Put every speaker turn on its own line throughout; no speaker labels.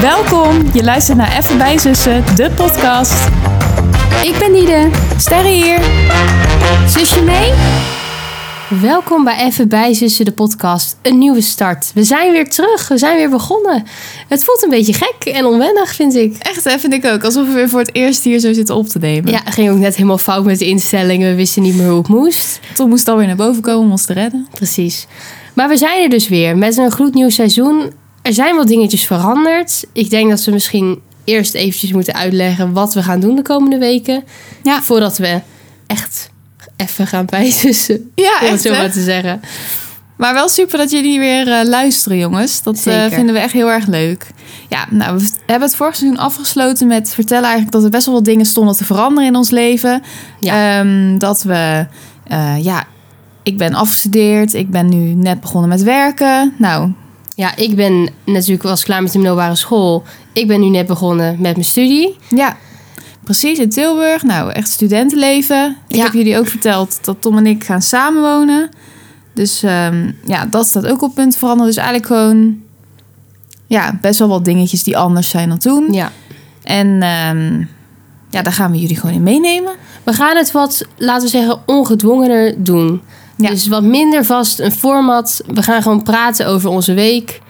Welkom, je luistert naar Even bij Zussen, de podcast.
Ik ben Nide.
Sterre hier.
Zusje mee? Welkom bij Even bij Zussen, de podcast. Een nieuwe start. We zijn weer terug. We zijn weer begonnen. Het voelt een beetje gek en onwennig, vind ik.
Echt, hè, vind ik ook. Alsof we weer voor het eerst hier zo zitten op te nemen.
Ja, ging ook net helemaal fout met de instellingen. We wisten niet meer hoe het moest.
Toen moest het alweer naar boven komen om ons te redden.
Precies. Maar we zijn er dus weer met een gloednieuw seizoen. Er zijn wel dingetjes veranderd. Ik denk dat we misschien eerst eventjes moeten uitleggen wat we gaan doen de komende weken.
Ja.
Voordat we echt even gaan bijzussen.
Ja,
om het
echt,
zo
hè?
maar te zeggen.
Maar wel super dat jullie weer eh, luisteren, jongens. Dat eh,
Zeker.
vinden we echt heel erg leuk. Ja, nou, we hebben het vorig seizoen afgesloten met vertellen eigenlijk dat er best wel wat dingen stonden te veranderen in ons leven.
Ja.
Ehm, dat we, eh, ja, ik ben afgestudeerd. Ik ben nu net begonnen met werken. Nou,
Ja, ik ben natuurlijk was klaar met de middelbare school. Ik ben nu net begonnen met mijn studie.
Ja, precies. In Tilburg. Nou, echt studentenleven. Ik
Ja.
heb jullie ook verteld dat Tom en ik gaan samenwonen. Dus ehm, ja, dat staat ook op punt veranderen. Dus eigenlijk gewoon... Ja, best wel wat dingetjes die anders zijn dan toen.
Ja.
En ehm, ja, daar gaan we jullie gewoon in meenemen.
We gaan het wat, laten we zeggen, ongedwongener doen.
Ja.
Dus wat minder vast een format. We gaan gewoon praten over onze week.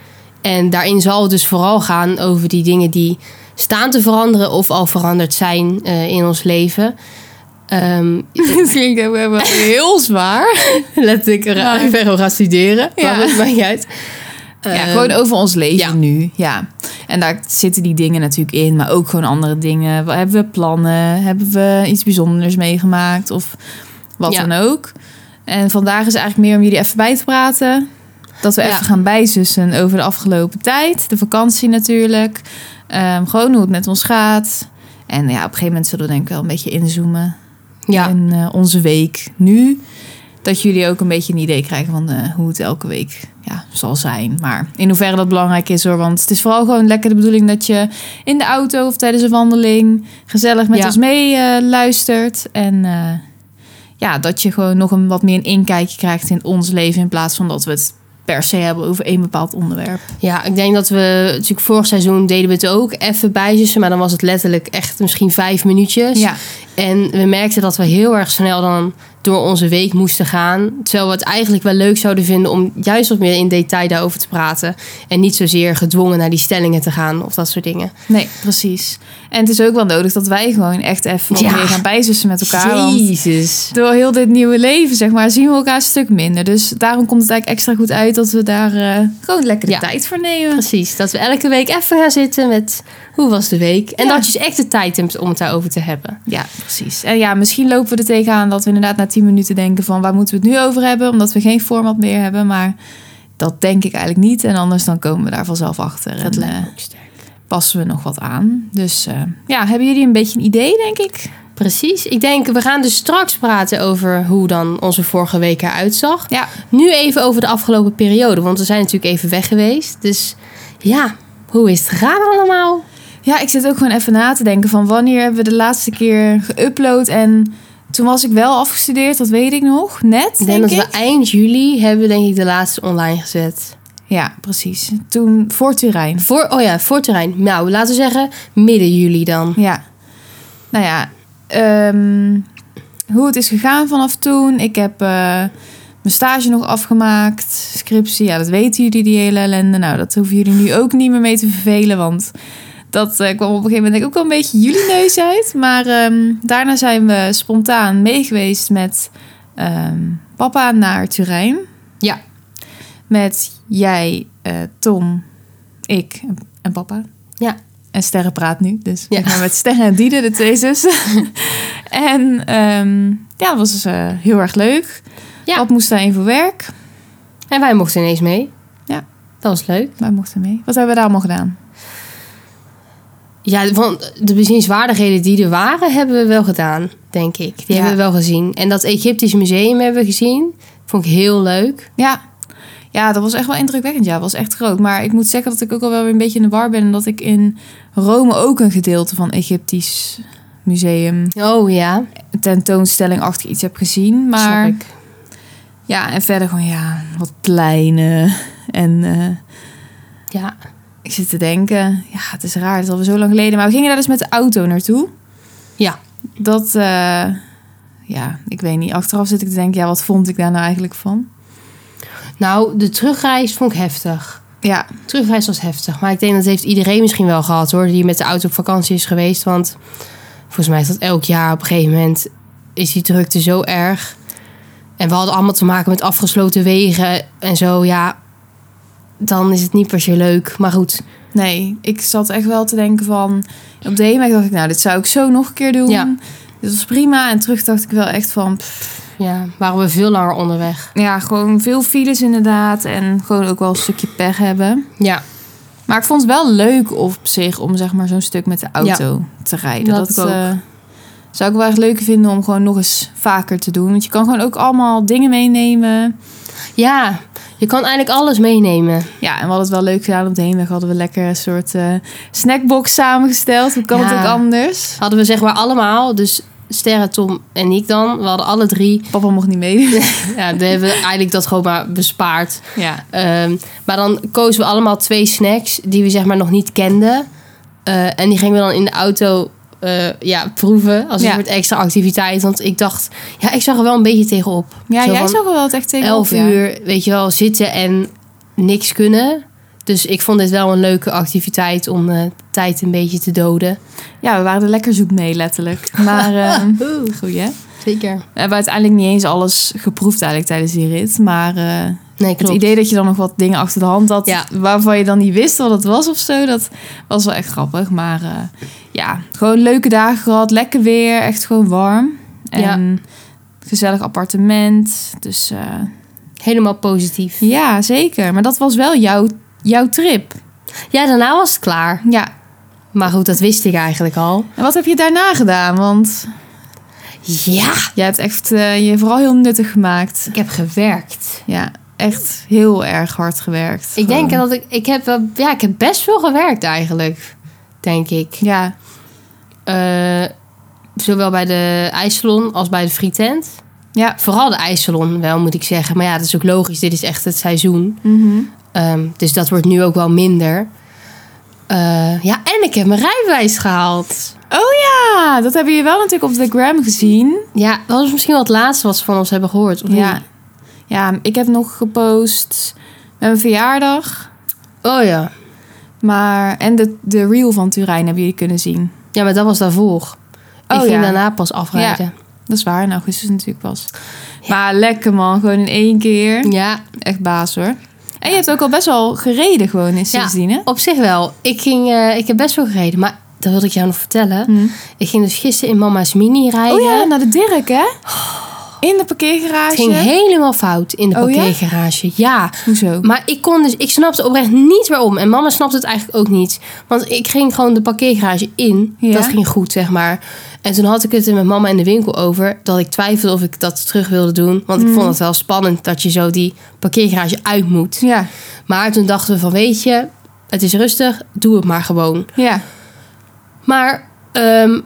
En daarin zal het dus vooral gaan over die dingen die staan te veranderen of al veranderd zijn eh, in ons leven. Ehm
Dit klinkt ook wel heel zwaar.
let ik er
Maar-
ik ben gewoon gaan studeren.
Ja.
Maar dat maakt niet uit.
Ja,
Ehm,
gewoon over ons leven
ja.
nu. Ja. En daar zitten die dingen natuurlijk in, maar ook gewoon andere dingen. Wat- Hebben we plannen? Hebben we iets bijzonders meegemaakt? Of wat
Ja.
dan ook. En vandaag is eigenlijk meer om jullie even bij te praten. Dat we
Ja.
even gaan bijzussen over de afgelopen tijd. De vakantie natuurlijk. Ehm, gewoon hoe het met ons gaat. En ja, op een gegeven moment zullen we denk ik wel een beetje inzoomen
ja.
in eh, onze week nu. Dat jullie ook een beetje een idee krijgen van eh, hoe het elke week ja, zal zijn. Maar in hoeverre dat belangrijk is hoor. Want het is vooral gewoon lekker de bedoeling dat je in de auto of tijdens een wandeling gezellig met
Ja.
ons mee eh, luistert. En eh, ja, dat je gewoon nog een wat meer een inkijkje krijgt in ons leven. In plaats van dat we het per se hebben over één bepaald onderwerp.
Ja, ik denk dat we, natuurlijk vorig seizoen deden we het ook even bijzussen, maar dan was het letterlijk echt misschien vijf minuutjes.
Ja,
En we merkten dat we heel erg snel dan door onze week moesten gaan. Terwijl we het eigenlijk wel leuk zouden vinden om juist wat meer in detail daarover te praten. En niet zozeer gedwongen naar die stellingen te gaan of dat soort dingen.
nee, precies. En het is ook wel nodig dat wij gewoon echt even wat
Ja.
meer gaan bijzussen met elkaar. want
Jezus.
Door heel dit nieuwe leven, zeg maar, zien we elkaar een stuk minder. Dus daarom komt het eigenlijk extra goed uit dat we daar eh, gewoon lekker de
Ja.
tijd voor nemen.
Precies, dat we elke week even gaan zitten met hoe was de week. En
Ja.
dat je dus echt de tijd hebt om het daarover te hebben.
Ja, precies. En ja, misschien lopen we er tegenaan dat we inderdaad na 10 minuten denken van waar moeten we het nu over hebben, omdat we geen format meer hebben. Maar dat denk ik eigenlijk niet. En anders dan komen we daar vanzelf achter
Dat
en
lijkt
eh,
me ook sterk.
passen we nog wat aan. Dus eh, ja, hebben jullie een beetje een idee, denk ik?
Precies. Ik denk, we gaan dus straks praten over hoe dan onze vorige week eruit zag.
Ja,
Nu even over de afgelopen periode, want we zijn natuurlijk even weg geweest. Dus ja, hoe is het gegaan allemaal?
Ja, ik zit ook gewoon even na te denken van wanneer hebben we de laatste keer geüpload. En toen was ik wel afgestudeerd, dat weet ik nog. Net,
Ik
denk
denk dat
ik.
we eind juli hebben, denk ik, de laatste online gezet.
Ja, precies. Toen voor Turijn.
Voor, oh ja, voor terrein. Nou, laten we zeggen midden juli dan.
Ja. Nou ja, ehm, hoe het is gegaan vanaf toen. Ik heb eh, mijn stage nog afgemaakt, scriptie. Ja, dat weten jullie, die hele ellende. Nou, dat hoeven jullie nu ook niet meer mee te vervelen, want... Dat eh, kwam op een gegeven moment denk ik ook wel een beetje jullie neus uit. Maar ehm, daarna zijn we spontaan meegeweest met ehm, papa naar Turijn.
Ja.
Met jij, eh, Tom, ik en papa.
Ja.
En Sterren praat nu, dus
Ja.
ik ben met Sterren en Diede, de twee zussen. en ehm, ja, dat was dus, eh, heel erg leuk.
Ja.
Wat moest daarin voor werk?
En wij mochten ineens mee.
Ja.
Dat was leuk.
Wij mochten mee. Wat hebben we daar allemaal gedaan?
Ja, want de bezienswaardigheden die er waren, hebben we wel gedaan, denk ik. Die
Ja.
hebben we wel gezien. En dat Egyptisch museum hebben we gezien. Vond ik heel leuk.
Ja. ja, dat was echt wel indrukwekkend. Ja, dat was echt groot. Maar ik moet zeggen dat ik ook al wel weer een beetje in de war ben. En dat ik in Rome ook een gedeelte van Egyptisch museum
Oh ja,
tentoonstelling achter iets heb gezien. Maar
snap ik.
ja, en verder gewoon ja, wat pleinen en... eh,
Ja.
Ik zit te denken, ja, het is raar, het is alweer zo lang geleden. Maar we gingen daar dus met de auto naartoe.
Ja.
Dat, eh, ja, ik weet niet. Achteraf zit ik te denken, ja, wat vond ik daar nou eigenlijk van?
Nou, de terugreis vond ik heftig.
Ja,
De terugreis was heftig. Maar ik denk dat heeft iedereen misschien wel gehad hoor. Die met de auto op vakantie is geweest. Want volgens mij is dat elk jaar op een gegeven moment. Is die drukte zo erg. En we hadden allemaal te maken met afgesloten wegen en zo. Ja, dan is het niet per se leuk. Maar goed,
nee, ik zat echt wel te denken van... Op de heenweg dacht ik, nou, dit zou ik zo nog een keer doen.
Ja.
Dit was prima. En terug dacht ik wel echt van, pff,
ja, waren we veel langer onderweg.
ja, gewoon veel files inderdaad. En gewoon ook wel een stukje pech hebben.
Ja,
Maar ik vond het wel leuk op zich om zeg maar zo'n stuk met de auto te rijden.
Dat
Dat,
ik ook.
eh, zou ik wel echt leuk vinden om gewoon nog eens vaker te doen. Want je kan gewoon ook allemaal dingen meenemen.
ja, je kan eigenlijk alles meenemen.
Ja, en we hadden het wel leuk gedaan. Op de heenweg hadden we lekker een soort eh, snackbox samengesteld. Hoe kan het
Ja.
ook anders?
Hadden we zeg maar allemaal, dus Sterre, Tom en ik dan. We hadden alle drie.
Papa mocht niet meedoen.
Ja, we hebben eigenlijk dat gewoon maar bespaard.
ja.
Ehm, maar dan kozen we allemaal twee snacks die we zeg maar nog niet kenden. Eh, en die gingen we dan in de auto eh, ja, proeven als een
Ja.
soort extra activiteit. Want ik dacht, ja, ik zag er wel een beetje tegenop.
Ja,
Zo
jij
van
zag er wel echt tegen.
elf
op, ja.
uur, weet je wel, zitten en niks kunnen. Dus ik vond dit wel een leuke activiteit om eh, tijd een beetje te doden.
Ja, we waren er lekker zoet mee, letterlijk. Maar ehm goed, hè?
Zeker.
We hebben uiteindelijk niet eens alles geproefd eigenlijk tijdens die rit. Maar eh,
Nee,
Het
klopt.
idee dat je dan nog wat dingen achter de hand had,
Ja.
waarvan je dan niet wist wat het was of zo, dat was wel echt grappig. Maar eh, ja, gewoon leuke dagen gehad, lekker weer, echt gewoon warm. En gezellig appartement. Dus eh,
Helemaal positief.
ja, zeker. Maar dat was wel jouw, jouw trip.
Ja, daarna was het klaar.
Ja.
Maar goed, dat wist ik eigenlijk al.
En wat heb je daarna gedaan? Want
Ja,
jij hebt echt eh, je vooral heel nuttig gemaakt.
ik heb gewerkt.
Ja, echt heel erg hard gewerkt.
Ik denk
Gewoon.
dat ik... Ik heb, wel- ja, ik heb best veel gewerkt eigenlijk. Denk ik.
Ja,
Eh, zowel bij de ijssalon als bij de frietent.
ja.
Vooral de ijssalon wel, moet ik zeggen. Maar ja, dat is ook logisch. Dit is echt het seizoen.
Mhm.
Ehm, dus dat wordt nu ook wel minder. Eh, ja, en ik heb mijn rijbewijs gehaald.
Oh ja, dat hebben jullie wel natuurlijk op de gram gezien.
Ja, dat was misschien wel het laatste wat ze van ons hebben gehoord. of niet?
Ja. ja, ik heb nog gepost met mijn verjaardag.
Oh ja.
Maar, en de, de reel van Turijn hebben jullie kunnen zien.
Ja, maar dat was daarvoor. ik
Oh,
ging
ja.
daarna pas afrijden.
Dat is waar, in augustus natuurlijk pas. Maar lekker man, gewoon in één keer.
ja,
Echt baas hoor. En je hebt ook al best wel gereden gewoon in sindsdien hè?
Op zich wel. Ik, ging, eh, ik heb best wel gereden, maar dat wilde ik jou nog vertellen.
Hm.
Ik ging dus gisteren in mama's mini rijden.
Oh ja, naar de Dirk hè? In de
het
parkeergarage.
Oh. ging helemaal fout in de
Oh ja?
parkeergarage. Ja?
Hoezo?
Maar ik kon dus, ik snapte oprecht niet waarom. En mama snapte het eigenlijk ook niet. Want ik ging gewoon de parkeergarage in.
Ja.
Dat ging goed, zeg maar. En toen had ik het er met mama in de winkel over. Dat ik twijfelde of ik dat terug wilde doen. Want
Hmm.
ik vond het wel spannend dat je zo die parkeergarage uit moet.
Ja,
Maar toen dachten we van, weet je, het is rustig. Doe het maar gewoon.
ja.
Maar ehm,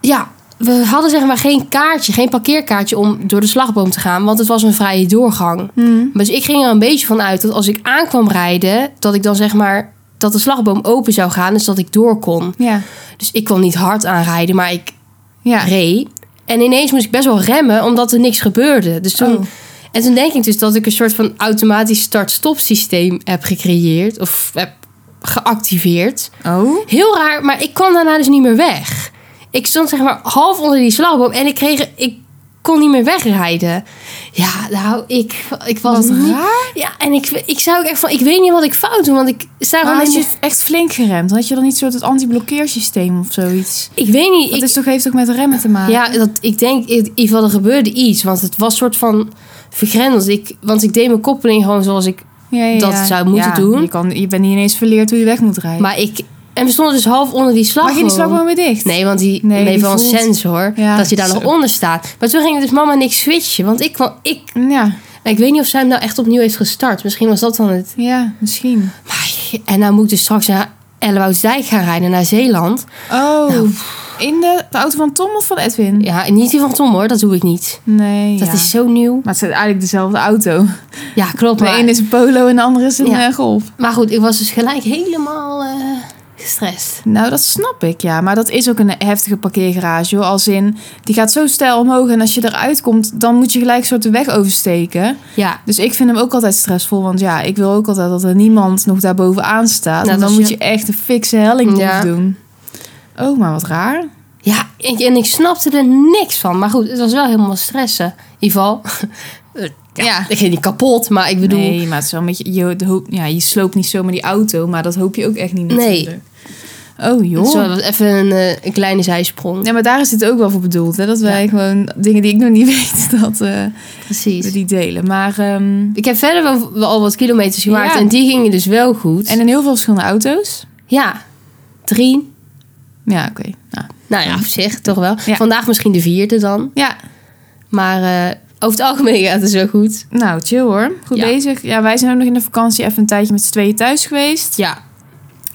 ja, we hadden zeg maar geen kaartje, geen parkeerkaartje om door de slagboom te gaan, want het was een vrije doorgang.
Hm.
Dus ik ging er een beetje van uit dat als ik aankwam rijden, dat ik dan zeg maar dat de slagboom open zou gaan, dus dat ik door kon.
Ja,
Dus ik kon niet hard aanrijden, maar ik
ja.
reed. En ineens moest ik best wel remmen, omdat er niks gebeurde. Dus toen,
Oh.
En toen denk ik dus dat ik een soort van automatisch start-stop systeem heb gecreëerd of heb geactiveerd.
Oh?
Heel raar, maar ik kwam daarna dus niet meer weg. Ik stond zeg maar half onder die slagboom en ik kreeg... Ik kon niet meer wegrijden. Ja, nou, ik, ik was
Wat
niet...
raar.
Ja, en ik, ik zou ook echt van... Ik weet niet wat ik fout doe, want ik sta
Maar
gewoon...
had
in
je echt flink geremd? Had je dan niet soort het anti-blokkeersysteem of zoiets?
de- Ik weet niet.
Dat
Ik,
is toch, heeft toch met remmen te maken?
Ja, dat, ik denk, in ieder geval, er gebeurde iets. Want het was soort van vergrendeld. Dus Ik, want ik deed mijn koppeling gewoon zoals ik...
Ja, ja,
dat
ja.
zou moeten
Ja,
doen.
Je, kan, je bent niet ineens verleerd hoe je weg moet rijden.
Maar ik... En we stonden dus half onder die slagboom.
Mag je die slagboom weer dicht?
Nee, want die
Nee,
nee, heeft
die
wel een
voelt-
sensor
Ja,
dat je daar
zo.
nog onder staat. Maar toen ging dus mama en ik switchen. Want ik kwam, ik,
Ja,
ik weet niet of zij hem nou echt opnieuw heeft gestart. Misschien was dat dan het.
ja misschien.
Maar, en nou moet ik dus straks naar Ellewoudsdijk gaan rijden naar Zeeland.
Oh, in de, de auto van Tom of van Edwin?
Nou, Ja, en niet die van Tom hoor, dat doe ik niet.
Nee,
Dat
ja.
is zo nieuw.
Maar het is eigenlijk dezelfde auto.
Ja, klopt.
De
Maar,
een is een polo en de andere is een
Ja.
eh, golf.
maar goed, ik was dus gelijk helemaal eh, gestrest.
Nou, dat snap ik, ja. Maar dat is ook een heftige parkeergarage, hoor. Als in, die gaat zo stijl omhoog en als je eruit komt, dan moet je gelijk een soort de weg oversteken.
Ja,
Dus ik vind hem ook altijd stressvol, want ja, ik wil ook altijd dat er niemand nog daar bovenaan staat.
Nou,
en dan
dat is
moet je echt een fikse helling
Ja.
doen. Oh, maar wat raar.
ja en, en ik snapte er niks van. Maar goed, het was wel helemaal stressen. In ieder geval, eh, ja,
Ja.
ik ging niet kapot, maar ik bedoel...
Nee, maar het is wel een beetje, je, de hoop, ja, je sloopt niet zomaar die auto, maar dat hoop je ook echt niet
Nee.
natuurlijk. Oh joh.
Dus dat was even een, eh, een kleine zijsprong.
Ja, maar daar is dit ook wel voor bedoeld. Hè? Dat wij gewoon dingen die ik nog niet weet, dat eh,
precies.
we die delen. Maar, ehm,
Ik heb verder wel, wel al wat kilometers gemaakt
Ja.
en die gingen dus wel goed.
en in heel veel verschillende auto's.
ja, drie.
Ja, oké. Nou,
Nou ja, op zich toch wel.
Ja.
Vandaag misschien de vierde dan.
ja,
Maar eh, over het algemeen gaat het zo goed.
nou chill hoor. Goed
Ja.
bezig. Ja, wij zijn ook nog in de vakantie even een tijdje met z'n tweeën thuis geweest.
Ja,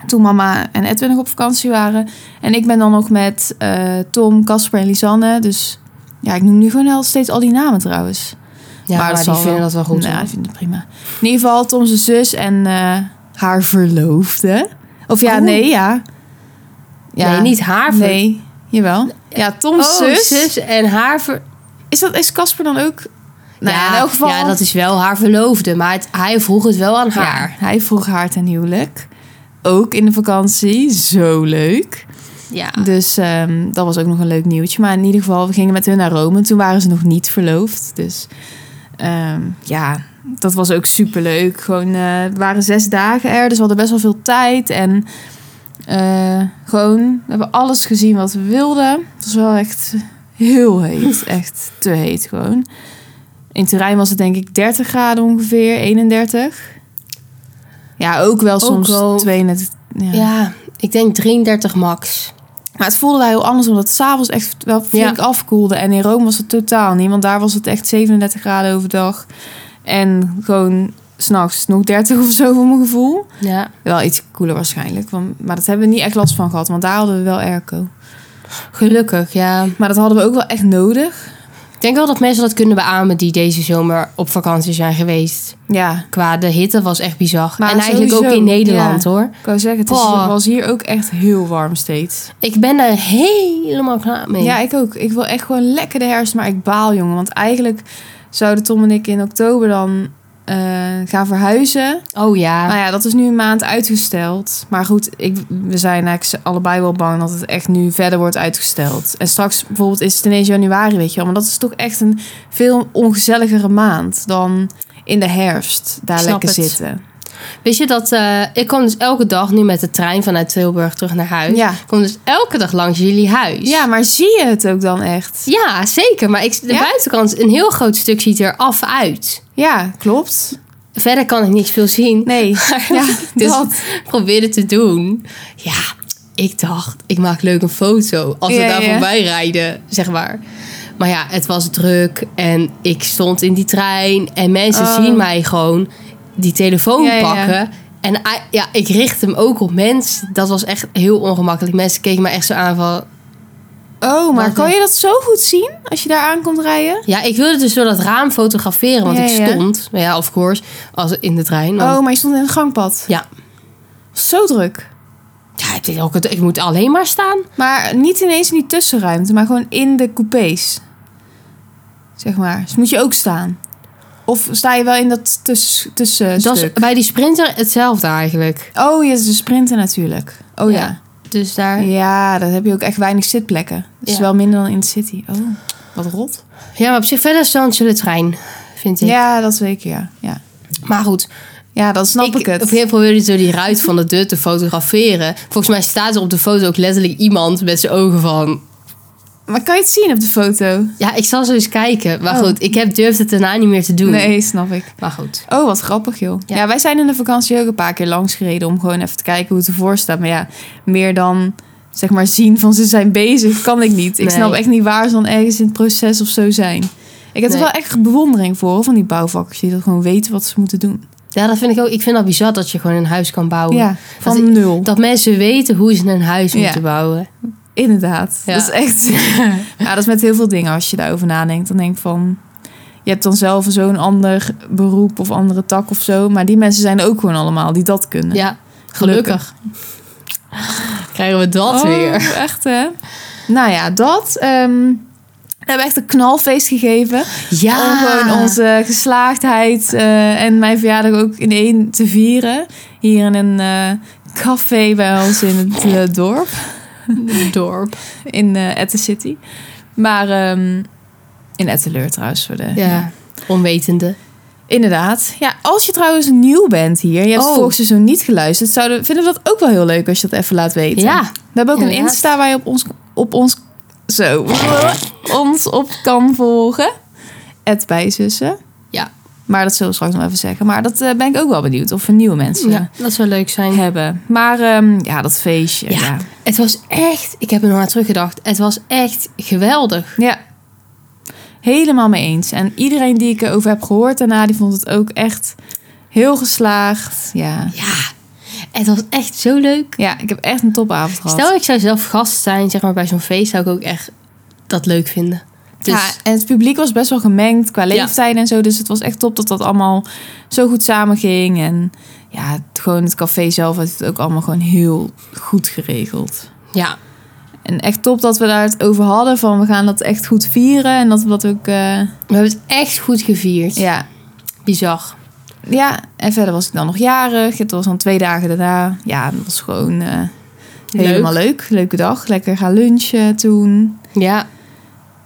Toen mama en Edwin nog op vakantie waren. En ik ben dan nog met eh, Tom, Casper en Lisanne. Dus ja, ik noem nu gewoon al steeds al die namen trouwens.
ja maar, die
zal
vinden
wel.
dat wel goed.
Nou,
hoor.
ik vind het prima. In ieder geval Tom zijn zus en eh, haar verloofde. Of ja,
Oh.
nee, ja.
Nee, niet haar ver-
Nee, jawel. Ja, Tom's
Oh,
zus.
zus en haar ver...
Is dat is Casper dan ook? Nou ja,
ja,
in elk geval.
ja, dat is wel haar verloofde. Maar het- hij vroeg het wel aan
Ja,
haar.
hij vroeg haar ten huwelijk. Ook in de vakantie. Zo leuk.
Ja.
Dus ehm, dat was ook nog een leuk nieuwtje. Maar in ieder geval, we gingen met hun naar Rome. Toen waren ze nog niet verloofd. Dus ehm, ja, dat was ook superleuk. Gewoon, eh, het waren zes dagen er, dus we hadden best wel veel tijd. En eh, gewoon, we hebben alles gezien wat we wilden. Het was wel echt heel heet. Echt te heet gewoon. In het terrein was het denk ik 30 graden ongeveer, 31. Ja, ook wel soms
wel-
32.
Ja. ik denk 33 max.
Maar het voelde wel heel anders, omdat het s'avonds echt wel flink afkoelde. En in Rome was het totaal niet, want daar was het echt 37 graden overdag. En gewoon s'nachts nog 30 of zo voor mijn gevoel.
Ja.
Wel iets koeler waarschijnlijk, want, maar dat hebben we niet echt last van gehad, want daar hadden we wel airco.
Gelukkig, ja.
Maar dat hadden we ook wel echt nodig.
Ik denk wel dat mensen dat kunnen beamen die deze zomer op vakantie zijn geweest.
Ja,
Qua de hitte was echt bizar.
Maar
en eigenlijk
sowieso,
ook in Nederland hoor.
ik wou zeggen, het is,
Oh.
was hier ook echt heel warm steeds.
Ik ben daar helemaal klaar mee.
Ja, ik ook. Ik wil echt gewoon lekker de herfst, maar ik baal, jongen. Want eigenlijk zouden Tom en ik in oktober dan eh, gaan verhuizen.
Oh ja.
Nou ja, dat is nu een maand uitgesteld. Maar goed, ik, we zijn eigenlijk allebei wel bang dat het echt nu verder wordt uitgesteld. En straks bijvoorbeeld is het ineens januari, weet je wel. Maar dat is toch echt een veel ongezelligere maand dan in de herfst daar
Snap
lekker
het.
zitten.
Wist je dat eh, ik kwam dus elke dag nu met de trein vanuit Tilburg terug naar huis.
Ja.
Ik kom dus elke dag langs jullie huis.
Ja, maar zie je het ook dan echt?
Ja, zeker. Maar ik, de
Ja?
buitenkant, een heel groot stuk ziet er af uit.
Ja, klopt.
Verder kan ik niet veel zien.
Nee, ja,
Dus
dat.
ik probeerde te doen. Ja, ik dacht, ik maak leuk een foto als we
Ja,
daar
ja.
voorbij rijden, zeg maar. Maar ja, het was druk en ik stond in die trein en mensen
Oh.
zien mij gewoon die telefoon
Ja, ja, ja.
pakken. En ah, ja, ik richt hem ook op mensen. Dat was echt heel ongemakkelijk. Mensen keken me echt zo aan van...
Oh, maar
dus- Wacht
kan
even.
je dat zo goed zien als je daar aan komt rijden?
Ja, ik wilde dus door dat raam fotograferen, want
Ja,
ik
ja.
stond, nou ja, of course, als in de trein. want-
Oh, maar je stond in het gangpad.
Ja.
Zo druk.
Ja, ik, denk ook, ik moet alleen maar staan.
Maar niet ineens in die tussenruimte, maar gewoon in de coupés. Zeg maar. Dus moet je ook staan. Of sta je wel in dat tussen, tussen
Dat is bij die sprinter hetzelfde eigenlijk.
Oh, je is de sprinter natuurlijk. Oh ja.
Dus
ja.
daar.
daar heb je ook echt weinig zitplekken. Dat is
Ja.
wel minder dan in de city. Oh, wat rot.
Ja, maar op zich verder stond ze de trein, vind ik.
Ja, dat zeker, ja. Ja,
Maar goed,
ja dan snap ik, het.
Op een gegeven moment probeerde ze die ruit van de deur te fotograferen. Volgens mij staat er op de foto ook letterlijk iemand met zijn ogen van.
Maar kan je het zien op de foto?
Ja, ik zal zo eens kijken. Maar
Oh.
goed, ik heb durfde het daarna niet meer te doen.
Nee, snap ik.
Maar goed.
Oh, wat grappig, joh. Ja.
Ja.
wij zijn in de vakantie ook een paar keer langs gereden om gewoon even te kijken hoe het ervoor staat. Maar ja, meer dan zeg maar zien van ze zijn bezig, kan ik niet. Ik
Nee.
snap echt niet waar ze dan ergens in het proces of zo zijn. Ik heb er
Nee.
wel echt bewondering voor hoor, van die bouwvakkers die dat gewoon weten wat ze moeten doen.
Ja, dat vind ik ook. Ik vind dat bizar dat je gewoon een huis kan bouwen.
Ja, van
Oh. Dat-
nul.
Dat mensen weten hoe ze een huis
Ja.
moeten bouwen.
Inderdaad.
Ja.
Dat is echt. ja, dat is met heel veel dingen als je daarover nadenkt. Dan denk ik van. Je hebt dan zelf zo'n ander beroep of andere tak of zo. Maar die mensen zijn er ook gewoon allemaal die dat kunnen.
Ja, gelukkig. Krijgen we dat
Oh,
weer.
Echt hè? Nou ja, dat. ehm, we hebben echt een knalfeest gegeven. Om gewoon onze geslaagdheid eh, en mijn verjaardag ook in één te vieren. Hier in een eh, café bij ons in het eh, dorp.
dorp.
in eh Etten City. Maar ehm, in Etteleur trouwens. Voor de,
Ja, onwetende.
Inderdaad. Ja, als je trouwens nieuw bent hier, je hebt
Oh.
vorig seizoen niet geluisterd, zouden, vinden we dat ook wel heel leuk als je dat even laat weten.
Ja,
We hebben ook een
inderdaad.
Insta waar je op ons, op ons, zo, ons op kan volgen. Het bijzussen.
Ja.
Maar dat zullen we straks nog even zeggen. Maar dat eh, ben ik ook wel benieuwd of we nieuwe mensen
ja, dat zou leuk zijn.
hebben. Maar ehm, ja, dat feestje.
Ja.
Ja.
Het was echt, ik heb er nog aan teruggedacht, het was echt geweldig.
Ja. Helemaal mee eens. En iedereen die ik erover heb gehoord daarna, die vond het ook echt heel geslaagd. Ja.
Ja, het was echt zo leuk.
Ja, ik heb echt een topavond gehad.
Stel, ik zou zelf gast zijn, zeg maar bij zo'n feest, zou ik ook echt dat leuk vinden. Dus
Ja, en het publiek was best wel gemengd qua
Ja.
leeftijd en zo. Dus het was echt top dat dat allemaal zo goed samenging. En ja, het, gewoon het café zelf had het ook allemaal gewoon heel goed geregeld.
ja,
En echt top dat we daar het over hadden van we gaan dat echt goed vieren. En dat we dat ook... eh,
we hebben het echt goed gevierd.
ja,
Bizar.
Ja, en verder was ik dan nog jarig. Het was dan twee dagen daarna. Ja, dat was gewoon eh, helemaal leuk. Leuke dag. Lekker gaan lunchen toen.
Ja.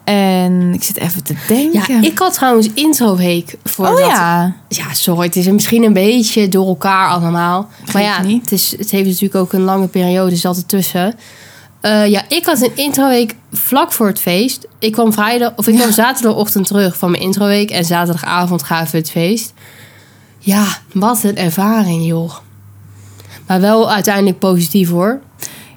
En ik zit even te
ja,
denken.
ik had trouwens introweek voor
oh
dat
ja.
Ja, sorry, het is misschien een beetje door elkaar allemaal. Maar ja,
niet.
het, is, het heeft natuurlijk ook een lange periode zat ertussen. Eh ja, ik had een introweek vlak voor het feest. Ik kwam vrijdag, of ik kwam zaterdagochtend terug van mijn introweek en zaterdagavond gaven we het feest. Ja, wat een ervaring, joh. Maar wel uiteindelijk positief hoor.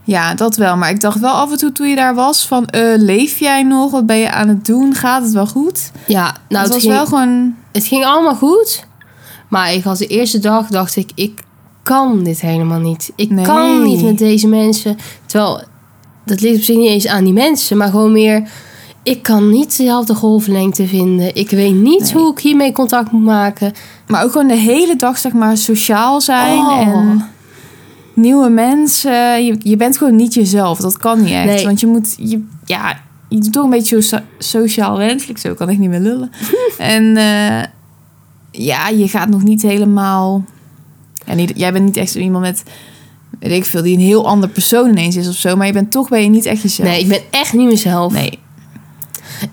Ja, dat wel. Maar ik dacht wel af en toe toen je daar was van... eh, leef jij nog? Wat ben je aan het doen? Gaat het wel goed?
Ja, nou,
het was
ging-
wel gewoon...
Het ging allemaal goed. Maar ik had de eerste dag dacht ik, ik kan dit helemaal niet. Ik
Nee.
kan niet met deze mensen. Terwijl, dat ligt op zich niet eens aan die mensen. Maar gewoon meer, ik kan niet dezelfde golflengte vinden. Ik weet niet
Nee.
hoe ik hiermee contact moet maken.
Maar ook gewoon de hele dag zeg maar sociaal zijn.
Oh.
En nieuwe mensen. Je, je bent gewoon niet jezelf. Dat kan niet echt.
Nee.
Want je moet... Je, ja, je doet toch een beetje zo, sociaal wenselijk. Zo kan ik niet meer lullen. en eh, ja, je gaat nog niet helemaal... Ja, niet, jij bent niet echt zo iemand met... Weet ik veel, die een heel ander persoon ineens is of zo. Maar je bent toch ben je niet echt jezelf.
Nee, ik ben echt niet mezelf.
Nee.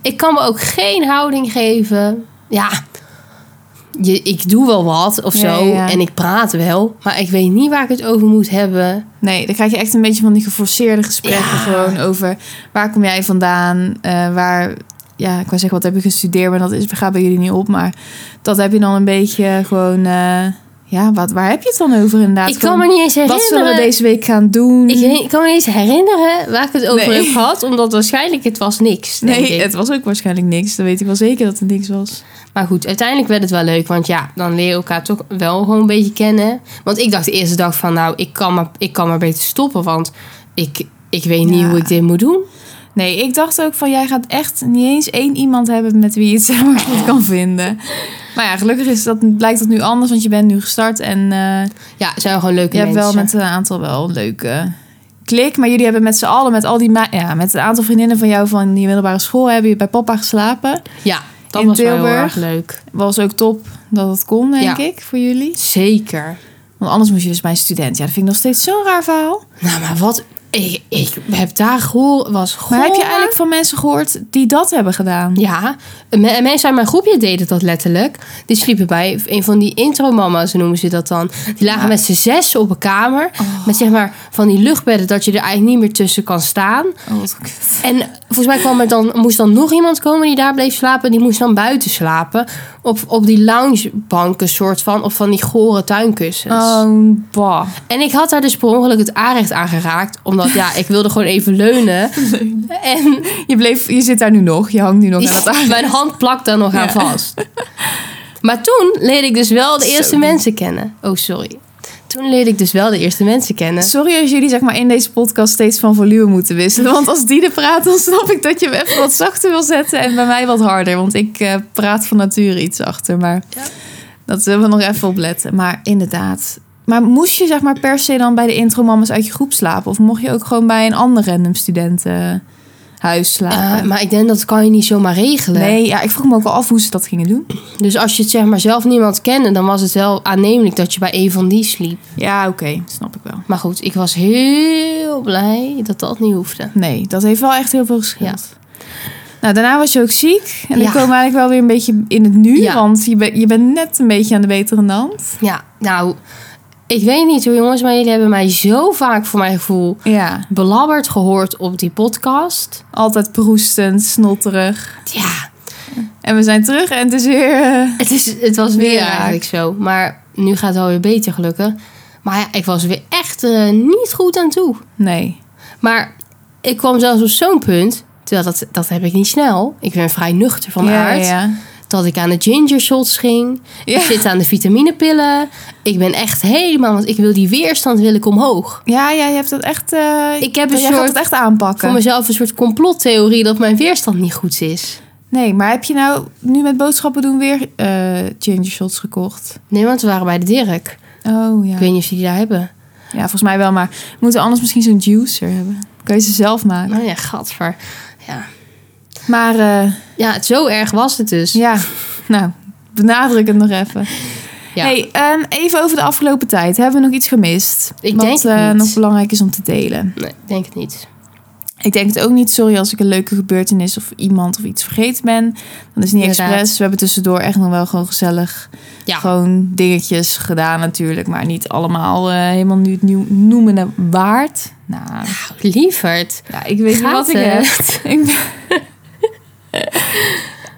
Ik kan me ook geen houding geven. Ja, je, ik doe wel wat of
Ja,
zo.
ja, ja.
En ik praat wel. Maar ik weet niet waar ik het over moet hebben.
Nee, dan krijg je echt een beetje van die geforceerde gesprekken.
Ja.
Gewoon over waar kom jij vandaan? Eh, waar, ja, ik wou zeggen, wat heb je gestudeerd? Maar dat is, gaat bij jullie niet op. Maar dat heb je dan een beetje gewoon... eh, ja, wat, waar heb je het dan over inderdaad?
ik kan
Gewoon,
me niet eens herinneren.
wat zullen we deze week gaan doen?
Ik, he- ik kan me niet eens herinneren waar ik het over
Nee.
heb gehad, omdat waarschijnlijk het was niks. Denk
nee,
ik.
het was ook waarschijnlijk niks. Dan weet ik wel zeker dat het niks was.
Maar goed, uiteindelijk werd het wel leuk, want ja, dan leer je elkaar toch wel gewoon een beetje kennen. Want ik dacht de eerste dag van, nou, ik kan maar, ik kan maar beter stoppen, want ik, ik weet niet
Ja.
hoe ik dit moet doen.
Nee, ik dacht ook van jij gaat echt niet eens één iemand hebben met wie je het samen goed kan vinden. Maar ja, gelukkig is dat, blijkt dat nu anders, want je bent nu gestart en... eh,
Ja, het zijn gewoon leuke
Je hebt
mensen.
wel met een aantal wel een leuke klik. Maar jullie hebben met z'n allen, met al die ma- ja, met een aantal vriendinnen van jou van die middelbare school, hebben je bij papa geslapen.
Ja, dat
in
was wel heel
Tilburg.
erg leuk.
Was ook top dat het kon, denk
Ja.
ik, voor jullie.
Zeker.
Want anders moest je dus bij een student. Ja, dat vind ik nog steeds zo'n raar verhaal.
Nou, maar wat ik, ik heb daar gehoord, was
Maar heb je
goor-
eigenlijk van mensen gehoord die dat hebben gedaan?
Ja, en me- en mensen uit mijn groepje deden dat letterlijk. Die sliepen bij een van die intro-mama's, noemen ze dat dan. Die lagen
Ja. Oh.
met z'n zes op een kamer. Met zeg maar van die luchtbedden dat je er eigenlijk niet meer tussen kan staan.
Oh, wat kut.
En volgens mij kwam er dan, moest dan nog iemand komen die daar bleef slapen. Die moest dan buiten slapen. Op, op die loungebanken soort van. Of van die gore tuinkussens. Ehm,
Oh, bah.
En ik had daar dus per ongeluk het aanrecht aan geraakt. Omdat ja, ik wilde gewoon even leunen. En
Je, bleef, je zit daar nu nog. Je hangt nu nog aan het
mijn hand plakt daar nog aan
Ja.
vast. Maar toen leerde ik dus wel de
Zo.
eerste mensen kennen. Oh, sorry. Toen leerde ik dus wel de eerste mensen kennen.
Sorry als jullie zeg maar, in deze podcast steeds van volume moeten wisselen. Want als die er praat, dan snap ik dat je hem even wat zachter wil zetten. En bij mij wat harder. Want ik eh, praat van nature iets achter. Maar
Ja.
dat zullen we nog even opletten. Maar inderdaad. Maar moest je zeg maar, per se dan bij de intro-mamas uit je groep slapen? Of mocht je ook gewoon bij een ander random studentenhuis slapen?
Eh, maar ik denk dat kan je niet zomaar regelen.
nee, ja, ik vroeg me ook al af hoe ze dat gingen doen.
Dus als je het zeg maar zelf niemand kende, dan was het wel aannemelijk dat je bij een van die sliep.
Ja, oké. Snap ik wel.
Maar goed, ik was heel blij dat dat niet hoefde.
Nee, dat heeft wel echt heel veel geschild. Nou, daarna was je ook ziek. En dan
Ja.
komen we eigenlijk wel weer een beetje in het nu.
Ja.
Want je, ben- je bent net een beetje aan de betere hand.
Ja, nou, ik weet niet hoe jongens, maar jullie hebben mij zo vaak voor mijn gevoel
Ja.
belabberd gehoord op die podcast.
Altijd proestend, snotterig.
Ja,
En we zijn terug en het is weer... eh,
het, is, het was
Weer
weer
raak.
eigenlijk zo. Maar nu gaat het alweer beter gelukkig. Maar ja, ik was weer echt eh, niet goed aan toe.
Nee.
Maar ik kwam zelfs op zo'n punt, terwijl dat, dat heb ik niet snel. Ik ben vrij nuchter van
ja,
aard.
Ja,
Dat ik aan de ginger shots ging.
ja.
Ik zit aan de vitaminepillen. Ik ben echt helemaal, want ik wil die weerstand wil ik omhoog.
Ja, ja, je hebt dat echt... eh,
Ik heb een
jij gaat
soort-
het echt aanpakken.
Voor mezelf een soort complottheorie dat mijn weerstand niet goed is.
Nee, maar heb je nou nu met boodschappen doen weer eh ginger shots gekocht?
Nee, want we waren bij de Dirk.
Oh ja.
Ik weet niet of ze die daar hebben.
Ja, volgens mij wel. Maar we moeten anders misschien zo'n juicer hebben. Kun je ze zelf maken.
Nou ja, gadver. Ja.
Maar... eh,
ja, het- zo erg was het dus.
Ja, nou, benadruk het nog even.
Ja.
Hey, ehm, even over de afgelopen tijd. Hebben we nog iets gemist?
Ik
wat,
denk het
eh,
niet.
nog belangrijk is om te delen.
Nee, ik denk het niet.
Ik denk het ook niet. Sorry als ik een leuke gebeurtenis of iemand of iets vergeten ben. Dan is het niet
Inderdaad.
expres. We hebben tussendoor echt nog wel gewoon gezellig
Ja.
gewoon dingetjes gedaan natuurlijk. Maar niet allemaal eh, helemaal nu het nieuw noemen waard. Nou,
Nou, lieverd.
ja, ik weet niet
Gaat
wat ik heb.
het?
Ik ben-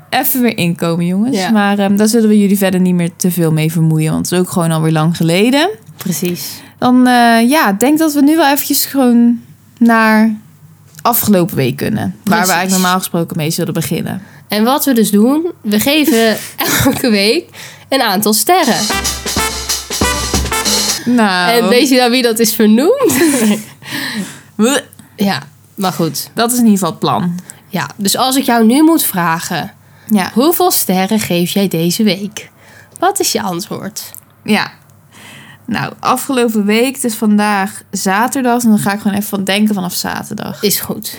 Even weer inkomen, jongens.
Ja.
Maar ehm, daar zullen we jullie verder niet meer te veel mee vermoeien. Want het is ook gewoon alweer lang geleden.
Precies.
Dan eh, ja, ik denk dat we nu wel eventjes gewoon naar afgelopen week kunnen. Waar we
Precies.
eigenlijk normaal gesproken mee zullen beginnen.
En wat we dus doen, we geven elke week een aantal sterren.
Nou,
En weet je nou wie dat is vernoemd?
Bleh.
Ja, maar goed.
dat is in ieder geval het plan.
Ja, dus als ik jou nu moet vragen,
Ja.
hoeveel sterren geef jij deze week? Wat is je antwoord?
ja. Nou, afgelopen week, het is vandaag zaterdag. En dan ga ik gewoon even van denken vanaf zaterdag.
Is goed.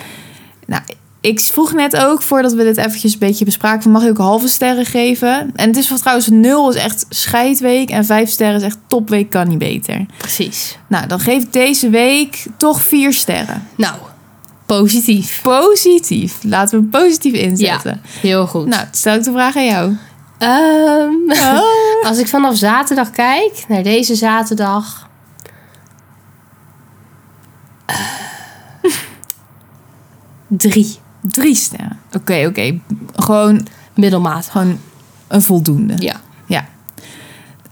Nou, ik vroeg net ook, voordat we dit eventjes een beetje bespraken... van, mag ik ook halve sterren geven? En het is van trouwens, nul is echt scheidweek... en vijf sterren is echt topweek, kan niet beter.
Precies.
Nou, dan geef ik deze week toch vier sterren.
Nou, positief.
Positief. Laten we hem positief inzetten.
Heel goed.
Nou, stel ik de vraag aan jou.
Ehm, als ik vanaf zaterdag kijk naar deze zaterdag. eh, drie.
Drie sterren. Oké, oké. Gewoon,
Middelmaat.
gewoon een voldoende.
Ja.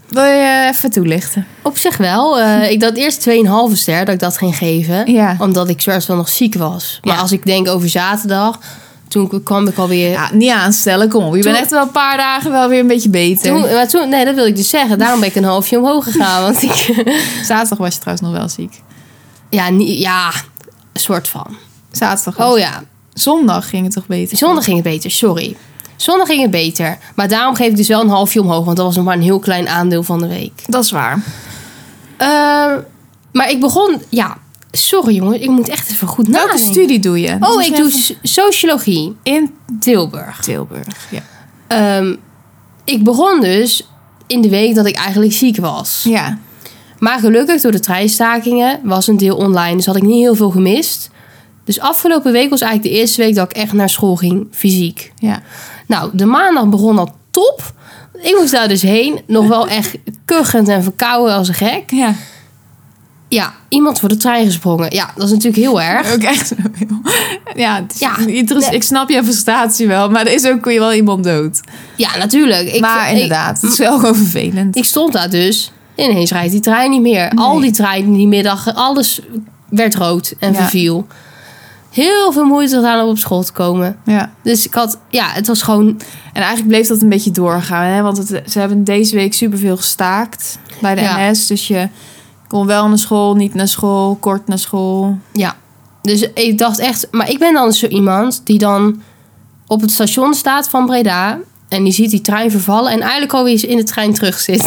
Wil je even toelichten?
Op zich wel. Eh, ik dacht eerst 2,5 ster dat ik dat ging geven.
Ja.
Omdat ik soort van nog ziek was. Maar
Ja.
als ik denk over zaterdag, toen kwam ik alweer...
Ja, niet aanstellen, kom op. Je bent echt wel een paar dagen wel weer een beetje beter.
Toen, maar toen, nee, dat wil ik dus zeggen. Daarom ben ik een halfje omhoog gegaan. Want ik...
Zaterdag was je trouwens nog wel ziek.
Ja, niet, ja, soort van.
Zaterdag was
Oh ja,
Zondag ging het toch beter?
zondag ging het beter, sorry. Zondag ging het beter. Maar daarom geef ik dus wel een halfje omhoog. Want dat was nog maar een heel klein aandeel van de week.
Dat is waar.
Eh, maar ik begon... Ja, sorry jongens. Ik moet echt even goed
Welke
nadenken.
studie doe je? Dat
Oh,
is
ik
net
doe
van-
so- sociologie
in
Tilburg.
Tilburg. Ja.
Ehm, ik begon dus in de week dat ik eigenlijk ziek was.
ja.
Maar gelukkig door de treinstakingen was een deel online. Dus had ik niet heel veel gemist. Dus afgelopen week was eigenlijk de eerste week dat ik echt naar school ging, fysiek.
Ja.
Nou, de maandag begon al top. Ik moest daar dus heen. Nog wel echt kuchend en verkouden als een gek.
Ja.
Ja, iemand voor de trein gesprongen. Ja, dat is natuurlijk heel erg.
Ook echt zo heel. Ja, het is-
Ja.
er is-
Nee.
ik snap je frustratie wel, maar er is ook wel iemand dood.
Ja, natuurlijk. Ik,
maar
ik-
inderdaad, het is wel gewoon vervelend.
Ik, stond daar dus. Ineens rijdt die trein niet meer. Al die treinen die middag, alles werd rood en
Ja.
verviel. heel veel moeite gedaan om op school te komen.
Ja.
Dus ik had, ja, het was gewoon
En eigenlijk bleef dat een beetje doorgaan. Hè? Want het, ze hebben deze week superveel gestaakt bij de
Ja.
NS. Dus je kon wel naar school, niet naar school, kort naar school.
Ja, dus ik dacht echt... Maar ik ben dan zo iemand die dan op het station staat van Breda... en die ziet die trein vervallen en eigenlijk alweer in de trein terug zit.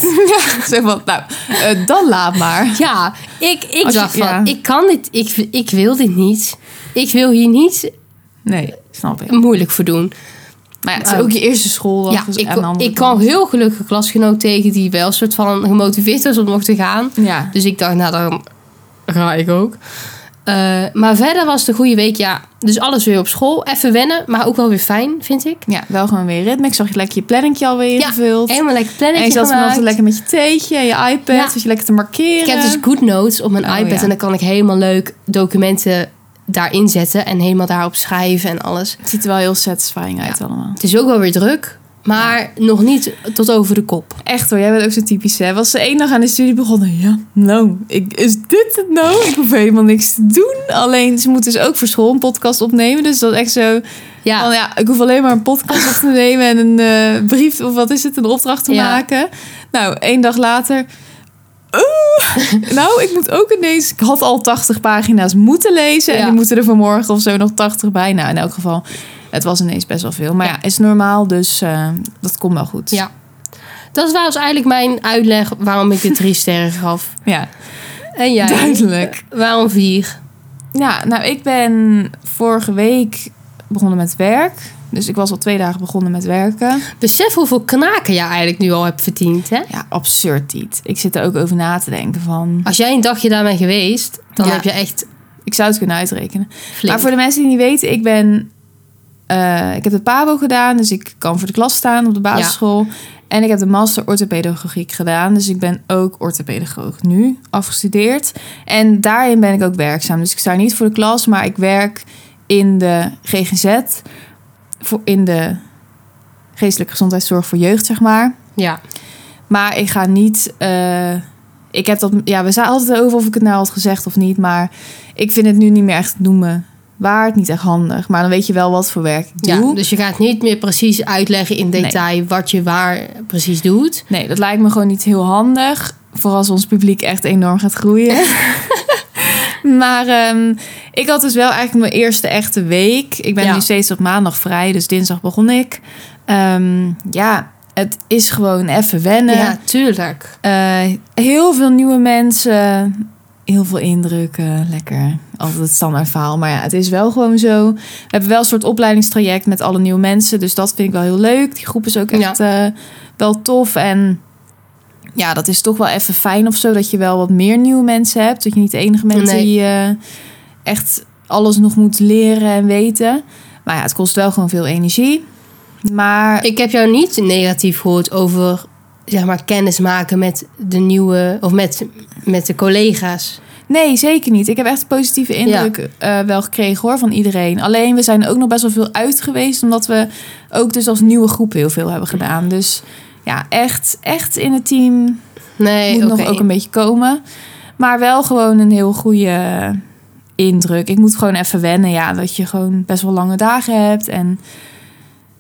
zeg maar, nou, eh, dan laat maar.
ja, ik, ik
Als je-
dacht van,
ja.
ik kan dit, ik, ik wil dit niet. Ik wil hier niet
Nee, snap ik.
moeilijk voor doen.
Maar ja, het is ook je eerste schooldag.
Oh. Ja,
dus
ik,
aan de andere
ik kwam heel gelukkig een klasgenoot tegen... die wel een soort van gemotiveerd was om nog te gaan.
kant. Ja,
Dus ik dacht, nou dan ga ik ook. Eh, maar verder was het een goede week, ja. Dus alles weer op school. Even wennen, maar ook wel weer fijn, vind ik.
ja, wel gewoon weer ritme. Ik zag je lekker je planningje alweer
Ja,
ingevuld.
Helemaal lekker
en
plannetje
je zat
gemaakt.
vanavond lekker met je theetje en je iPad.
Ja.
Dus je lekker te markeren.
Ik heb dus GoodNotes op mijn
Oh,
iPad.
ja.
En dan kan ik helemaal leuk documenten daarin zetten. En helemaal daarop schrijven en alles.
Het ziet er wel heel satisfying uit allemaal.
Het is ook wel weer druk. Maar nog niet tot over de kop.
Echt hoor, jij bent ook zo typisch hè. Was ze één dag aan de studie begonnen. Ja, nou, ik, is dit het nou? Ik hoef helemaal niks te doen. Alleen, ze moet dus ook voor school een podcast opnemen. Dus dat is echt zo
Ja,
Van, ja, ik hoef alleen maar een podcast op te nemen en een eh, brief of wat is het, een opdracht te
Ja.
maken. Nou, één dag later. Oeh, nou, ik moet ook ineens. Ik had al 80 pagina's moeten lezen. En
Ja.
die moeten er vanmorgen of zo nog 80 bij. Nou, in elk geval, het was ineens best wel veel. Maar ja,
Ja.
is normaal, dus eh, dat komt wel goed.
Ja. dat was eigenlijk mijn uitleg waarom ik de drie sterren gaf.
ja
En jij?
duidelijk.
Waarom vier?
Ja, nou, ik ben vorige week begonnen met werk. Dus ik was al twee dagen begonnen met werken.
Besef hoeveel knaken jij eigenlijk nu al hebt verdiend, hè?
Ja, absurd niet. Ik zit er ook over na te denken van...
Als jij een dagje daar bent geweest, dan
Ja.
heb je echt
Ik zou het kunnen uitrekenen.
flink.
Maar voor de mensen die niet weten, ik ben. eh, ik heb de PABO gedaan, dus ik kan voor de klas staan op de basisschool. En ik heb de master orthopedagogiek gedaan, dus ik ben ook orthopedagoog nu afgestudeerd. En daarin ben ik ook werkzaam. Dus ik sta niet voor de klas, maar ik werk in de GGZ, voor in de geestelijke gezondheidszorg voor jeugd, zeg maar.
Ja,
Maar ik ga niet. eh, ik heb dat. Ja, we zaten altijd over of ik het nou had gezegd of niet. Maar ik vind het nu niet meer echt noemen waard. Niet echt handig. Maar dan weet je wel wat voor werk ik doe.
ja, dus je gaat niet meer precies uitleggen in detail wat je waar precies doet.
Nee, dat lijkt me gewoon niet heel handig. Vooral als ons publiek echt enorm gaat groeien. maar ehm, ik had dus wel eigenlijk mijn eerste echte week. Ik ben
Ja.
nu steeds op maandag vrij, dus dinsdag begon ik. Ehm, ja, het is gewoon even wennen.
Ja, tuurlijk.
Eh, heel veel nieuwe mensen, heel veel indrukken, lekker. Altijd het standaard verhaal, maar ja, het is wel gewoon zo. We hebben wel een soort opleidingstraject met alle nieuwe mensen, dus dat vind ik wel heel leuk. Die groep is ook echt eh, wel tof en ja, dat is toch wel even fijn of zo dat je wel wat meer nieuwe mensen hebt, dat je niet de enige bent
Nee.
die eh, echt alles nog moet leren en weten. Maar ja, het kost wel gewoon veel energie. Maar
Ik heb jou niet negatief gehoord over zeg maar kennis maken met de nieuwe of met, met de collega's.
Nee, zeker niet. Ik heb echt positieve indruk eh, wel gekregen hoor van iedereen. Alleen we zijn ook nog best wel veel uit geweest, omdat we ook dus als nieuwe groep heel veel hebben gedaan. Dus ja, echt, echt in het team
Nee,
moet
oké.
nog ook een beetje komen. Maar wel gewoon een heel goede indruk. Ik moet gewoon even wennen, ja, dat je gewoon best wel lange dagen hebt. En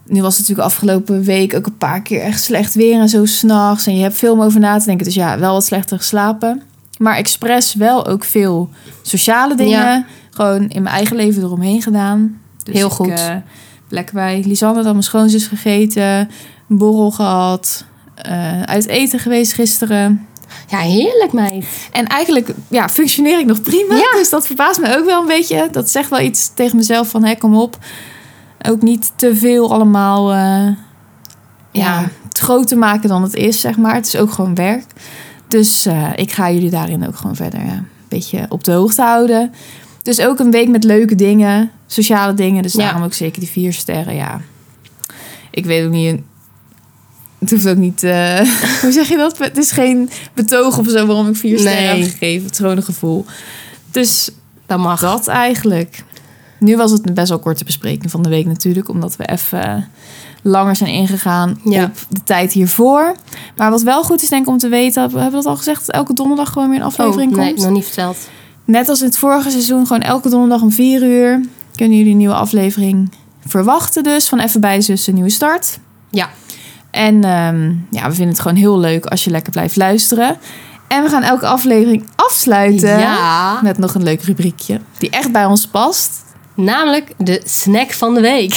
nu was het natuurlijk afgelopen week ook een paar keer echt slecht weer en zo s'nachts. En je hebt veel om over na te denken. Dus ja, wel wat slechter geslapen. Maar expres wel ook veel sociale dingen.
Ja.
Gewoon in mijn eigen leven eromheen gedaan. Dus
Heel
ik,
goed.
eh, lekker bij Lisanne, dan mijn schoonzus gegeten. Een borrel gehad. eh, uit eten geweest gisteren.
Ja, heerlijk meid.
En eigenlijk ja, functioneer ik nog prima.
Ja.
Dus dat verbaast me ook wel een beetje. Dat zegt wel iets tegen mezelf van, hé, kom op. Ook niet te veel allemaal eh, ja.
Ja.
het groter maken dan het is, zeg maar. Het is ook gewoon werk. Dus eh, ik ga jullie daarin ook gewoon verder ja, een beetje op de hoogte houden. Dus ook een week met leuke dingen, sociale dingen. Dus
Ja.
daarom ook zeker die vier sterren, ja. Ik weet ook niet... Het hoeft ook niet... eh, hoe zeg je dat? Het is geen betoog of zo waarom ik vier sterren
Nee.
heb gegeven. Het is gewoon een gevoel. Dus
Dat mag.
dat eigenlijk. Nu was het een best wel korte bespreking van de week natuurlijk. Omdat we even eh, langer zijn ingegaan
Ja.
op de tijd hiervoor. Maar wat wel goed is denk ik om te weten... We hebben dat al gezegd. dat Elke donderdag gewoon weer een
Oh,
aflevering
nee,
komt.
nog niet verteld.
Net als in het vorige seizoen. Gewoon elke donderdag om vier uur. kunnen jullie een nieuwe aflevering verwachten dus van Even bij Zussen Nieuwe Start.
Ja.
En ehm, ja, we vinden het gewoon heel leuk als je lekker blijft luisteren. En we gaan elke aflevering afsluiten
Ja.
met nog een leuk rubriekje die echt bij ons past.
Namelijk de snack van de week.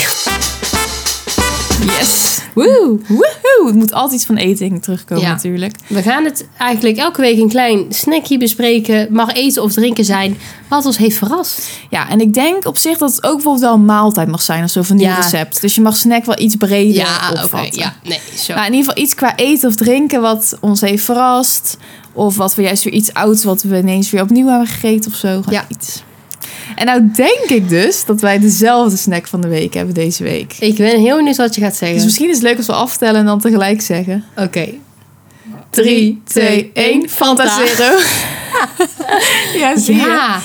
Yes!
Woe!
Woehoe! Het moet altijd iets van eten terugkomen
Ja.
natuurlijk.
We gaan het eigenlijk elke week een klein snackje bespreken. Mag eten of drinken zijn. Wat ons heeft verrast.
Ja, en ik denk op zich dat het ook bijvoorbeeld wel een maaltijd mag zijn of zo van die
Ja.
recept. Dus je mag snack wel iets breder opvatten.
Ja, nee, zo.
Nou, in ieder geval iets qua eten of drinken wat ons heeft verrast. Of wat we juist weer iets ouds wat we ineens weer opnieuw hebben gegeten of zo. Gewoon
Ja.
iets. En nou denk ik dus dat wij dezelfde snack van de week hebben deze week.
Ik ben heel benieuwd wat je gaat zeggen.
Dus misschien is het leuk als we aftellen en dan tegelijk zeggen.
Oké.
3, 2, 1, Fanta Zero. ja, zie je.
Ja.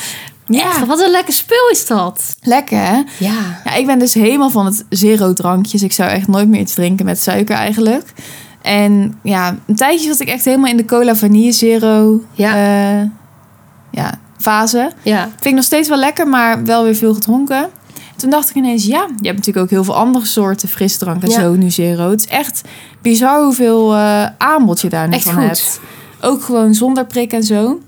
Ja.
Wat een lekker spul is dat.
Lekker hè?
Ja.
Ja, ik ben dus helemaal van het zero drankjes. Ik zou echt nooit meer iets drinken met suiker eigenlijk. En ja, een tijdje zat ik echt helemaal in de cola vanille zero
Ja.
eh, ja, fase.
Ja.
Vind ik nog steeds wel lekker, maar wel weer veel gedronken. Toen dacht ik ineens, ja, je hebt natuurlijk ook heel veel andere soorten frisdrank en
Ja.
zo nu zero. Het is echt bizar hoeveel eh, aanbod je daar nu
Echt
van
goed.
hebt. Ook gewoon zonder prik en zo.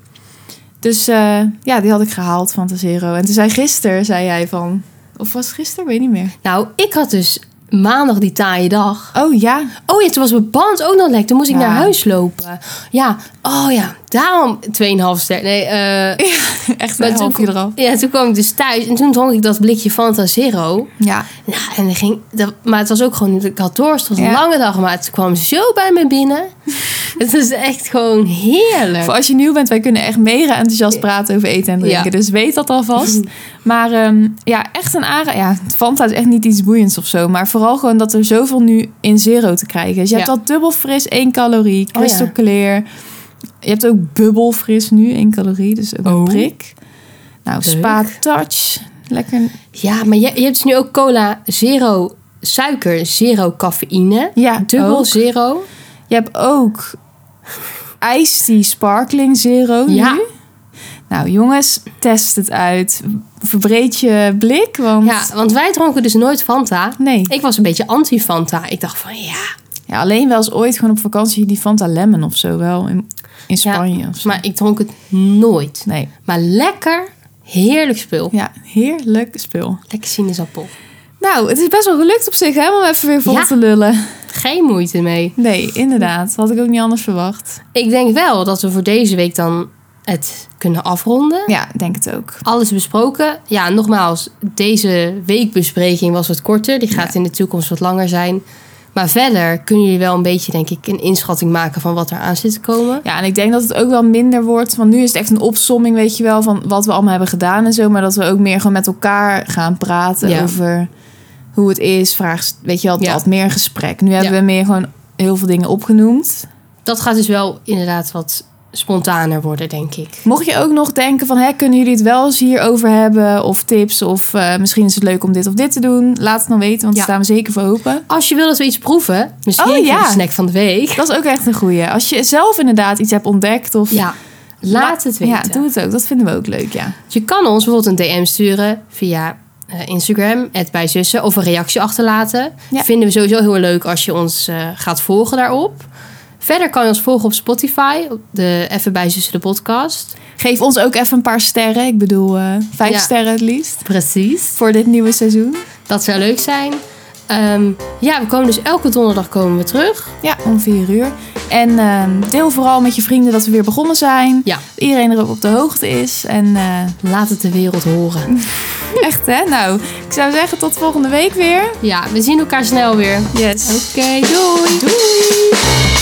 Dus eh, ja, die had ik gehaald van de zero. En toen zei gisteren, zei jij van... Of was het gisteren? Weet niet meer.
Nou, ik had dus maandag die taaie dag.
Oh ja.
Oh ja, toen was mijn band ook nog lek. Toen moest ik
Ja.
naar huis lopen. Ja, oh ja, daarom 2,5 ster. Nee, eh
Echt
Maar
een
toen
halfje
kom-
eraf.
Ja, toen kwam ik dus thuis en toen dronk ik dat blikje Fanta Zero.
Ja.
Nou, en er ging, dat, maar het was ook gewoon, ik had dorst, het was een
Ja.
lange dag, maar het kwam zo bij me binnen. het is echt gewoon heerlijk.
Voor als je nieuw bent, wij kunnen echt mega enthousiast praten over eten en drinken.
Ja.
Dus weet dat alvast. Maar ehm, ja, echt een aanra... Ja, Fanta is echt niet iets boeiends of zo. Maar vooral gewoon dat er zoveel nu in zero te krijgen is. Je hebt
Ja. Oh
al dubbel fris, één calorie.
ja.
Crystal clear. Je hebt ook bubbel fris nu, één calorie. Dus ook een
Oh.
prik. Nou,
Leuk.
spa touch. Lekker.
Ja, maar je, je hebt dus nu ook cola zero suiker, zero cafeïne.
Ja,
Dubbel
ook.
zero.
Je hebt ook Ice Tea Sparkling Zero
Ja.
nu. Nou jongens, test het uit. Verbreed je blik, want...
Ja, want wij dronken dus nooit Fanta.
Nee.
Ik was een beetje anti-Fanta. Ik dacht van ja,
Ja, alleen wel eens ooit gewoon op vakantie die Fanta Lemon of zo wel. In, in
Ja,
Spanje of zo.
maar ik dronk het nooit.
Nee.
Maar lekker, heerlijk spul.
Ja, heerlijk spul.
Lekker sinaasappel.
Nou, het is best wel gelukt op zich hè, om even weer vol
Ja.
te lullen.
Geen moeite mee.
Nee, inderdaad. Had ik ook niet anders verwacht.
Ik denk wel dat we voor deze week dan het kunnen afronden.
Ja, ik denk het ook.
Alles besproken. Ja, nogmaals, deze weekbespreking was wat korter. Die gaat in de toekomst wat langer zijn. Maar verder kunnen jullie wel een beetje, denk ik, een inschatting maken van wat er aan zit te komen.
Ja, en ik denk dat het ook wel minder wordt. Want nu is het echt een opsomming, weet je wel, van wat we allemaal hebben gedaan en zo. Maar dat we ook meer gewoon met elkaar gaan praten
Ja.
over hoe het is. Vraag, weet je wel,
Ja.
wat meer gesprek. Nu hebben
Ja.
we meer gewoon heel veel dingen opgenoemd.
Dat gaat dus wel inderdaad wat spontaner worden, denk ik.
Mocht je ook nog denken van, hè, kunnen jullie het wel eens hierover hebben? Of tips? Of eh, misschien is het leuk om dit of dit te doen? Laat het dan weten, want daar
Ja.
staan we zeker voor open.
Als je wil dat we iets proeven, misschien
Oh,
voor
ja.
de snack van de week.
Dat is ook echt een goeie. Als je zelf inderdaad iets hebt ontdekt of...
Ja, laat het weten.
Ja, doe het ook. Dat vinden we ook leuk, ja.
Je kan ons bijvoorbeeld een DM sturen via eh, Instagram, @bijzussen, of een reactie achterlaten.
Ja.
Vinden we sowieso heel leuk als je ons eh, gaat volgen daarop. Verder kan je ons volgen op Spotify, op de Even bij Zussen de podcast.
Geef ons ook even een paar sterren. Ik bedoel, eh, vijf
Ja.
sterren het liefst.
Precies.
Voor dit nieuwe seizoen.
Dat zou leuk zijn. Ehm, ja, we komen dus elke donderdag komen we terug.
Ja, om vier uur. En ehm, deel vooral met je vrienden dat we weer begonnen zijn.
Ja,
Iedereen erop op de hoogte is. En eh,
laat het de wereld horen.
echt, hè? Nou, ik zou zeggen tot volgende week weer.
Ja, we zien elkaar snel weer. Oké,
Yes.
doei!
Doei!